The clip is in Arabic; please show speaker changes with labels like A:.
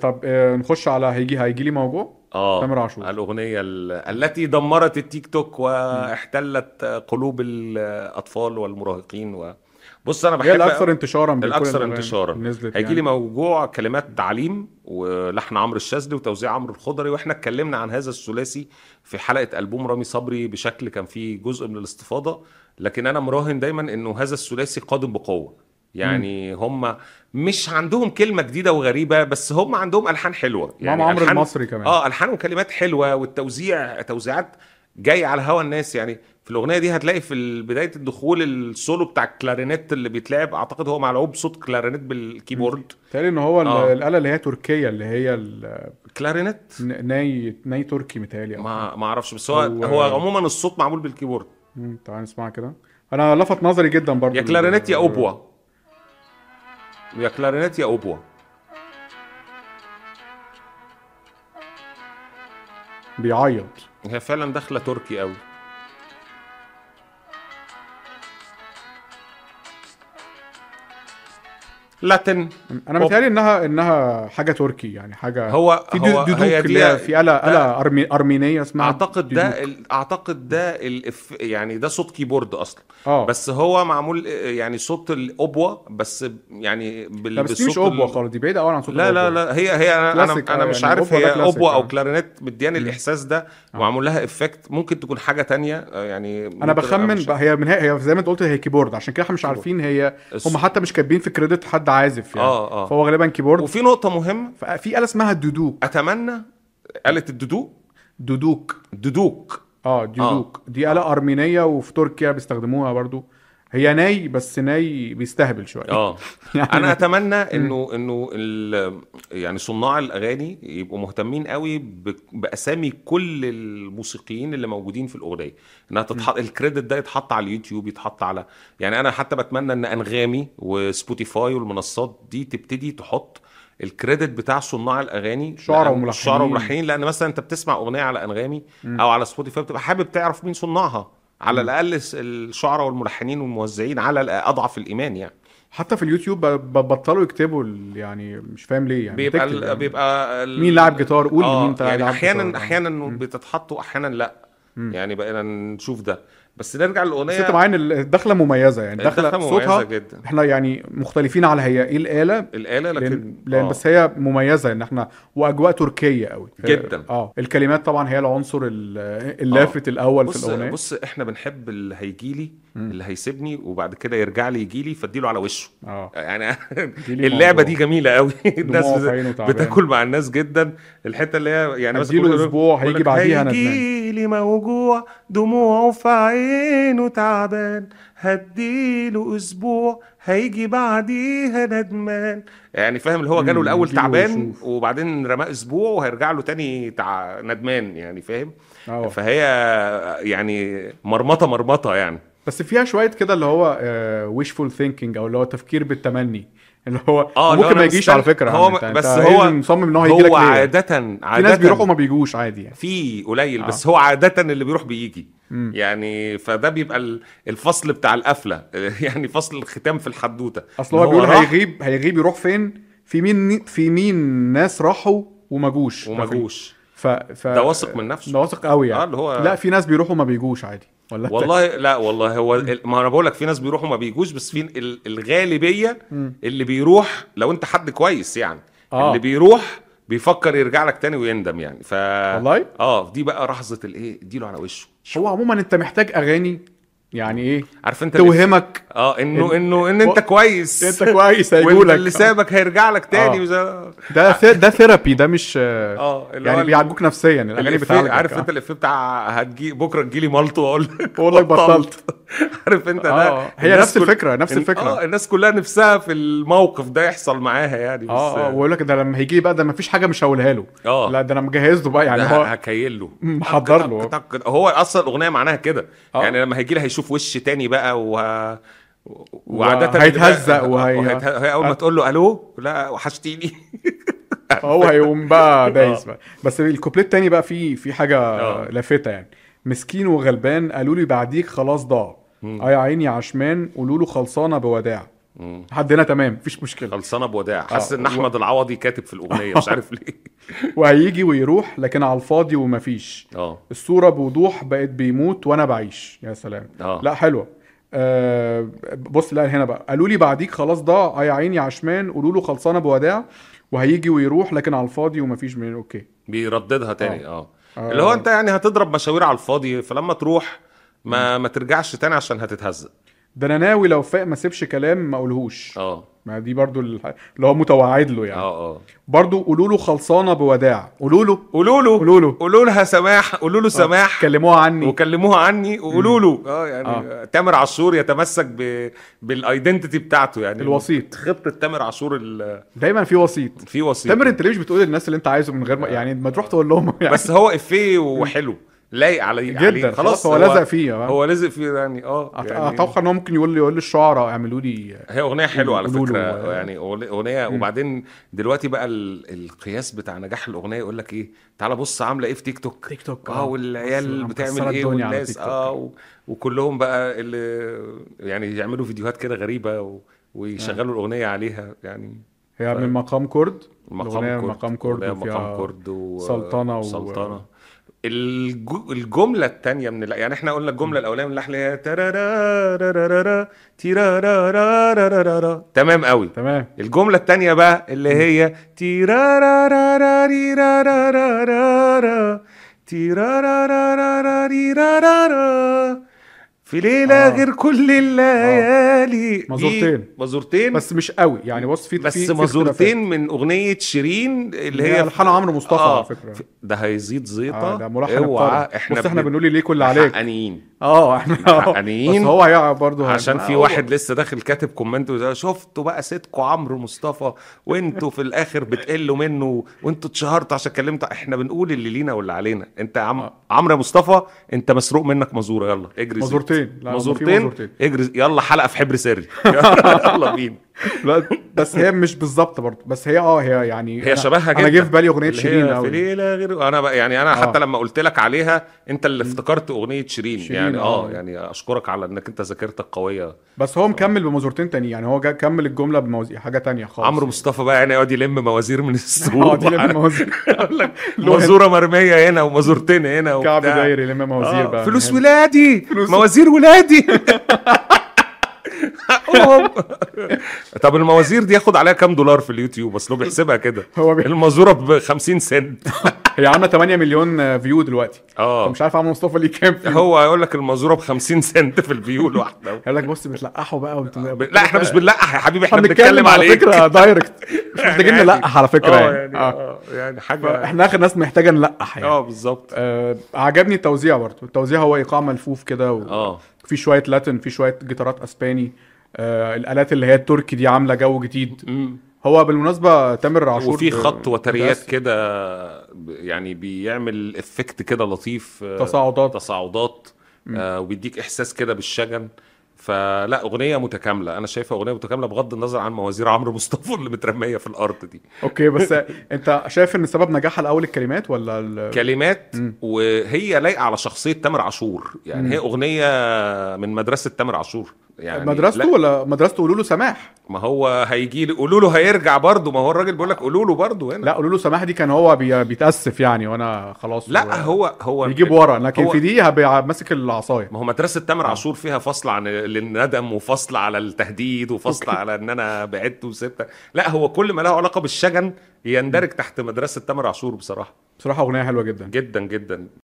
A: طب آه، نخش على هيجي هيجي لي موجوع
B: اه
A: تامر عاشور
B: الأغنية ال- التي دمرت التيك توك
A: مم.
B: واحتلت قلوب الأطفال والمراهقين و... بص أنا
A: هي
B: بحب
A: الاكثر انتشارا بين كل
B: الأكثر
A: الاغاني
B: انتشارا
A: اللي نزلت
B: هيجي لي
A: يعني
B: موجوع كلمات عليم ولحن عمرو الشاذلي وتوزيع عمرو الخضري واحنا اتكلمنا عن هذا الثلاثي في حلقة ألبوم رامي صبري بشكل كان فيه جزء من الاستفاضة لكن أنا مراهن دايما إنه هذا الثلاثي قادم بقوة
A: امم
B: يعني هم مش عندهم كلمة جديدة وغريبة بس هم عندهم ألحان حلوة
A: مع
B: يعني
A: نعم، عمرو
B: ألحان
A: المصري كمان
B: اه ألحان وكلمات حلوة والتوزيع توزيعات جاي على هوا الناس يعني في الاغنيه دي هتلاقي في ال- بدايه الدخول السولو بتاع الكلارينيت اللي بيتلعب اعتقد هو ملعوب صوت كلارينيت
A: مم.
B: بالكيبورد
A: تقريبا ان هو ال-
B: اه
A: الاله اللي هي تركيه اللي هي ال-
B: كلارينيت
A: ن- ناي ناي تركي متهيألي او حاجه
B: ما ما اعرفش بس هو
A: او
B: هو
A: آه،
B: عموما الصوت معمول بالكيبورد
A: مم، تعال نسمعها كده انا لفت نظري جدا
B: يا
A: برضو ال-
B: كلارينيت يا
A: الر-
B: اوبوا يا كلارينيت يا اوبوا
A: بيعيط
B: هي فعلا داخله تركي قوي لاتن
A: انا
B: بوب
A: متهيألي انها انها حاجه تركي يعني حاجه
B: هو
A: في
B: هو
A: دو-
B: هي
A: دودوك اللي
B: دي
A: هي في آلة
B: ده
A: آلة أرمي أرمينية اسمها
B: اعتقد ده
A: دودوك
B: ال- اعتقد ده الإف يعني ده صوت كيبورد اصلا
A: اه
B: بس هو معمول يعني صوت الاوبوة بس يعني بال-
A: لا بس دي مش
B: بالصوت
A: اوبوا
B: ال...
A: خالص دي بعيده قوي عن صوت
B: لا لا
A: الاوبوا
B: لا هي هي انا انا
A: كلاسيك
B: انا
A: اه
B: مش
A: يعني
B: عارف
A: الاوبوا ده
B: هي
A: كلاسيك
B: اوبوة او
A: اه
B: كلارينيت مدياني
A: مم.
B: الاحساس ده
A: اه
B: ومعمول لها افكت ممكن تكون حاجة تانية آه، يعني
A: انا
B: ممكن ابقى
A: بخمن
B: مش
A: بقى هي من هي هي زي ما انت قلت هي كيبورد عشان كده احنا مش
B: كيبورد
A: عارفين هي هم
B: الص-
A: حتى مش كاتبين في كريدت حد عازف يعني
B: اه اه
A: فهو غالبا كيبورد
B: وفي نقطة مهمة
A: ففي آلة اسمها الدودوك
B: اتمنى آلة الدودوق
A: دودوك
B: دودوك
A: اه
B: اه
A: دودوك دي آلة
B: اه
A: أرمينية وفي تركيا بيستخدموها برضو هي ناي بس ناي بيستهبل شوية
B: اه
A: يعني
B: انا
A: ما
B: اتمنى
A: مم.
B: انه انه ال يعني صناع الاغاني يبقوا مهتمين قوي ب- باسامي كل الموسيقيين اللي موجودين في الاغنيه انها
A: مم.
B: تتحط الكريدت ده يتحط على اليوتيوب يتحط على يعني انا حتى بتمنى ان انغامي وسبوتيفاي والمنصات دي تبتدي تحط الكريدت بتاع صناع الاغاني
A: شعراء
B: لان
A: وملحنين
B: الشعراء والملحنين لان مثلا انت بتسمع اغنيه على انغامي
A: مم.
B: او على سبوتيفاي بتبقى حابب تعرف مين صنعها على
A: مم.
B: الاقل الشعراء والملحنين والموزعين على اضعف الايمان يعني
A: حتى في اليوتيوب ب- ب- بطلوا يكتبوا ال- يعني مش فاهم ليه يعني ما
B: بيبقى
A: تكتب
B: ال...
A: يعني
B: بيبقى
A: مين لاعب
B: ال...
A: جيتار قول لمين
B: اه
A: تلع-
B: يعني
A: لاعب جيتار
B: احيانا
A: اه
B: احيانا
A: مم.
B: بتتحط واحيانا لا
A: مم.
B: يعني بقينا نشوف ده بس نرجع
A: بس انت
B: للاغنيه
A: معايا ان الدخله مميزه يعني الدخله
B: الدخله مميزه
A: صوتها
B: جدا
A: احنا يعني مختلفين على هي ايه الاله
B: الاله
A: لان
B: لكن
A: لان بس
B: اه
A: هي مميزه ان احنا واجواء تركيه قوي اه
B: جدا
A: آه. الكلمات طبعا هي العنصر ال-
B: اه
A: اللافت الاول في
B: بص
A: الاغنيه
B: بص احنا بنحب اللي هيجيلي
A: مم.
B: اللي هيسيبني وبعد كده يرجع لي يجيلي فاديله على وشه
A: اه
B: يعني
A: دي لي
B: اللعبه دي
A: موجوع
B: جميله قوي الناس
A: دموعه في
B: بت-
A: عينه تعبان
B: بتاكل مع الناس جدا الحته اللي هي يعني مثلا كل
A: اديله
B: يقول
A: اسبوع
B: يقول
A: هيجي
B: لك
A: بعديها ندمان
B: هيجي لي موجوع دموعه في عينه تعبان هديله اسبوع هيجي بعديها ندمان يعني فاهم اللي هو جاله
A: امم
B: الاول
A: نديله
B: تعبان
A: ويشوف
B: وبعدين رماه اسبوع وهيرجع له تاني تع... ندمان يعني فاهم
A: اه
B: فهي يعني مرمطه مرمطه يعني
A: بس فيها شويه كده اللي هو آه، wishful thinking او اللي هو تفكير بالتمني اللي هو
B: اه لو
A: وممكن
B: انا
A: ما يجيش على
B: مستني
A: فكره يا عم
B: هو
A: انت انت
B: بس
A: ايه اللي
B: هو
A: مصمم ان هو هيجي
B: هو
A: لك ليه
B: عادة
A: في ناس
B: عادة
A: بيروحوا ما بيجوش عادي يعني
B: في قليل
A: اه
B: بس هو عادة اللي بيروح بيجي
A: امم
B: يعني فده بيبقى ال- الفصل بتاع القفلة يعني فصل الختام في الحدوتة
A: اصل
B: ان
A: هو
B: هو
A: بيقول
B: راح
A: هيغيب هيغيب يروح فين في مين في مين ناس راحوا وما جوش ده
B: وما
A: في ال...
B: جوش
A: ف ف
B: ده واثق من نفسه
A: ده واثق قوي
B: اه
A: يعني
B: اللي
A: لا
B: هو
A: في ناس بيروحوا ما بيجوش عادي ولا انت
B: والله لا والله هو
A: امم
B: ال- ما انا بقول لك في ناس بيروحوا ما بيجوش بس في ال- الغالبية
A: امم
B: اللي بيروح لو انت حد كويس يعني اللي
A: اه
B: بيروح بيفكر يرجع لك تاني ويندم يعني ف
A: والله
B: اه دي بقى لحظة الايه اديله على وشه
A: هو عموما انت محتاج اغاني يعني ايه
B: عارف انت اللي
A: توهمك
B: اه انه
A: ان
B: انه ان
A: و...
B: انت كويس
A: انت كويس
B: وان اللي
A: هيجولك اه
B: سابك هيرجع لك تاني
A: اه
B: وزي...
A: ده ثي... ده ثيرابي ده مش
B: اه اللي هو
A: يعني
B: ال...
A: بيعالجوك نفسيا الاغاني
B: الافيه
A: بتعالجك
B: عارف انت
A: اه
B: الافيه بتاع هتجي بكره تجيلي مالطو واقول لك
A: بقول لك بطلت
B: بطلت عارف انت ده
A: اه هي
B: الناس
A: نفس
B: كل
A: الفكره نفس
B: إن... اه
A: الفكره
B: الناس كلها نفسها في الموقف ده يحصل معاها يعني بس
A: اه اه ويقول لك ده لما هيجي لي بقى ده مفيش حاجه مش هقولها له لا
B: اه
A: ده انا مجهز له بقى
B: ده
A: يعني
B: ه-
A: هو
B: هكيل له تك
A: محضر
B: تك
A: له
B: تك هو اصلا الاغنيه معناها كده
A: اه
B: يعني لما هيجي لي هيشوف وش تاني بقى و... وعادة اللي
A: وهيتهزق
B: بقى آه،
A: وهي
B: وهيت- هي اول ما
A: هت-
B: تقول له الو لا وحشتيني
A: فهو هيقوم بقى دايس
B: اه
A: بقى بس الكوبليه التاني بقى فيه في حاجه
B: اه
A: لافته يعني مسكين وغلبان قالوا لي بعديك خلاص ضاع اه
B: مم.
A: يا عيني عشمان قولوا له خلصانه بوداع
B: مم.
A: لحد هنا تمام مفيش مشكله
B: خلصانه بوداع حاسس
A: آه،
B: ان احمد العوضي كاتب في الاغنيه مش عارف ليه
A: وهيجي ويروح لكن على الفاضي ومفيش
B: اه
A: الصوره بوضوح بقت بيموت وانا بعيش يا سلام
B: اه
A: لا حلوه آه بص لا هنا بقى قالوا لي بعديك خلاص ضاع يا عيني عشمان قولوا له خلصانه بوداع وهيجي ويروح لكن على الفاضي ومفيش من اوكي
B: بيرددها تاني اه
A: آه،
B: اللي هو انت يعني هتضرب مشاوير على الفاضي فلما تروح ما ما ترجعش تاني عشان هتتهزق
A: ده انا ناوي لو فاق ما سيبش كلام ما اقولهوش
B: اه
A: ما دي برضو الح- اللي هو متوعد له يعني
B: اه اه
A: برضو قولوا له خلصانه بوداع قولوا له
B: قولوا له
A: قولوا له
B: قولوا لها سماح قولوا
A: اه.
B: له سماح
A: كلموها عني
B: وكلموها عني وقولوا له اه يعني
A: آه.
B: آه. تامر عاشور يتمسك ب... بالايدنتيتي بتاعته يعني
A: الوسيط.
B: خطه تامر عاشور ال...
A: دايما في وسيط
B: في وسيط
A: تامر انت ليه مش بتقول للناس اللي انت عايزه من غير ما يعني ما تروح تقول لهم يعني
B: بس هو افيه وحلو لايق عليه عليه.
A: جدا خلاص هو لزق فيه آه.
B: هو لازق فيه يعني اه
A: أت-
B: يعني
A: اتوقع ان هو ممكن يقول لي يقول للشعراء اعملوا لي
B: هي اغنيه حلوه على
A: قولوا
B: فكره
A: له.
B: يعني أغني- اغنيه وبعدين دلوقتي بقى ال- القياس بتاع نجاح الاغنيه يقول لك ايه تعالى بص عامله ايه في تيك توك
A: تيك توك،
B: اه
A: آه.
B: والعيال
A: بص،
B: بتعمل
A: مكسرة
B: ايه
A: الدنيا على
B: والناس
A: تيك توك.
B: اه و... وكلهم بقى اللي يعني يعملوا فيديوهات كده غريبه و... ويشغلوا الاغنيه عليها يعني
A: هي من مقام كرد الأغنية
B: مقام
A: من مقام
B: كرد
A: كرد
B: أغنية
A: وفيها
B: مقام كرد و...
A: سلطنة و-
B: سلطنة الج- الجملة التانية من اللحن يعني احنا قلنا الجملة الأولانية من اللحن اللي هي ترارا رارارارا تيرارارارارارا. تمام قوي
A: تمام
B: الجملة التانية بقى اللي هي تيرارارارارارارارا تيرارارارارارارارا في ليلة
A: آه.
B: غير كل الليالي دي
A: مازورتين.
B: مازورتين
A: بس مش قوي يعني بص في في-
B: بس
A: في
B: مازورتين
A: اختلافات.
B: من اغنيه شيرين اللي
A: هي
B: هي
A: الحان عمرو مصطفى على فكره
B: ف- ده هيزيد زيطه
A: اه ده ملحن
B: اوعى
A: الطرب.
B: احنا
A: بص احنا بنقول اللي كل عليك
B: حقانيين
A: اه احنا آه.
B: حقانيين.
A: بس هو هيقع برضه
B: يعني عشان
A: هيبقى-
B: في
A: آه،
B: واحد لسه داخل كاتب كومنت وده، شفتوا بقى سيدكوا عمرو مصطفى وانتوا في الاخر بتقلوا منه وانتوا اتشهرتوا عشان كلمتوا احنا بنقول اللي لينا واللي علينا انت يا عم
A: آه.
B: عمرو يا مصطفى انت مسروق منك مازوره يلا اجري زيت.
A: مازورتين. لا، هو في
B: مازورتين
A: مازورتين.
B: اجري زيت. يلا حلقه في حبر سري يلا بينا
A: لا بس هي مش بالظبط برضه بس هي اه هي يعني
B: هي
A: أنا-
B: شبهها جدا
A: انا جه في بالي اغنيه
B: اللي هي
A: شيرين
B: في
A: قوي
B: ليله غير انا بقى يعني انا حتى
A: آه.
B: لما قلت لك عليها انت اللي افتكرت اغنيه شيرين,
A: شيرين،
B: يعني اه
A: آه.
B: يعني اشكرك على انك انت ذاكرتك قويه
A: بس هو مكمل بمزورتين تاني يعني هو جا كمل الجمله بموازي حاجه تانية خالص
B: عمرو مصطفى بقى يعني يقعد يلم موازير من
A: اه دي لما
B: السوق
A: موازي
B: يقول لك مازوره مرميه هنا ومازورتين هنا وبتاع.
A: كعب دايري لما موازير
B: آه،
A: بقى يعني
B: فلوس
A: من هنا.
B: ولادي
A: فلوس-
B: موازير ولادي حقهم طب الموازير دي ياخد عليها كام دولار في اليوتيوب اصل هو بيحسبها كده
A: هو بي-
B: المازوره ب 50 سنت
A: هي عامله 8 مليون فيو دلوقتي
B: اه
A: فمش عارف عمرو مصطفى ليه كام فيو
B: هو هيقول لك المازوره ب 50 سنت في الفيو لوحده
A: يقول لك بص بتلقحوا بقى وانتوا
B: لا احنا مش بنلقح يا حبيبي احنا
A: احنا
B: آه، بنتكلم
A: على
B: عليك
A: فكره دايركت مش
B: يعني
A: محتاجين
B: عادي.
A: نلقح على فكره
B: اه
A: يعني
B: يعني
A: اه
B: اه يعني حاجه
A: احنا اخر ناس محتاجه نلقح يعني
B: اه بالظبط
A: آه، عجبني التوزيع برضه التوزيع هو ايقاع ملفوف كده و-
B: اه
A: في شويه لاتن في شويه جيتارات اسباني آه، الالات اللي هي التركي دي عامله جو جديد
B: مم.
A: هو بالمناسبه تامر عاشور
B: وفي خط
A: آه،
B: وتريات
A: متأسس.
B: كده ب- يعني بيعمل افكت كده لطيف آه،
A: تصاعدات.
B: تصاعدات آه وبيديك احساس كده بالشجن فلا اغنيه متكامله انا شايفها اغنيه متكامله بغض النظر عن موازير عمرو مصطفى اللي مترميه في الارض دي
A: اوكي بس انت شايف ان سبب نجاحها الاول الكلمات ولا ال...
B: كلمات وهي لايقه على شخصيه تامر عاشور يعني هي اغنيه من مدرسه تامر عاشور يعني
A: مدرسته
B: لا،
A: ولا مدرسته قولوا له سماح
B: ما هو هيجي لي قولوا له هيرجع برضه ما هو الراجل بيقول لك قولوا له برضه هنا
A: لا قولوا له سماح دي كان هو بي... بيتاسف يعني وانا خلاص
B: لا هو هو
A: بيجيب ورا لكن
B: هو-
A: في دي هبقى ماسك العصايه
B: ما هو مدرسه تامر عاشور فيها فصل عن الندم وفصل على التهديد وفصل على ان انا بعدت وسبت لا هو كل ما له علاقه بالشجن يندرج تحت مدرسه تامر عاشور بصراحه
A: بصراحه اغنيه حلوه جدا
B: جدا جدا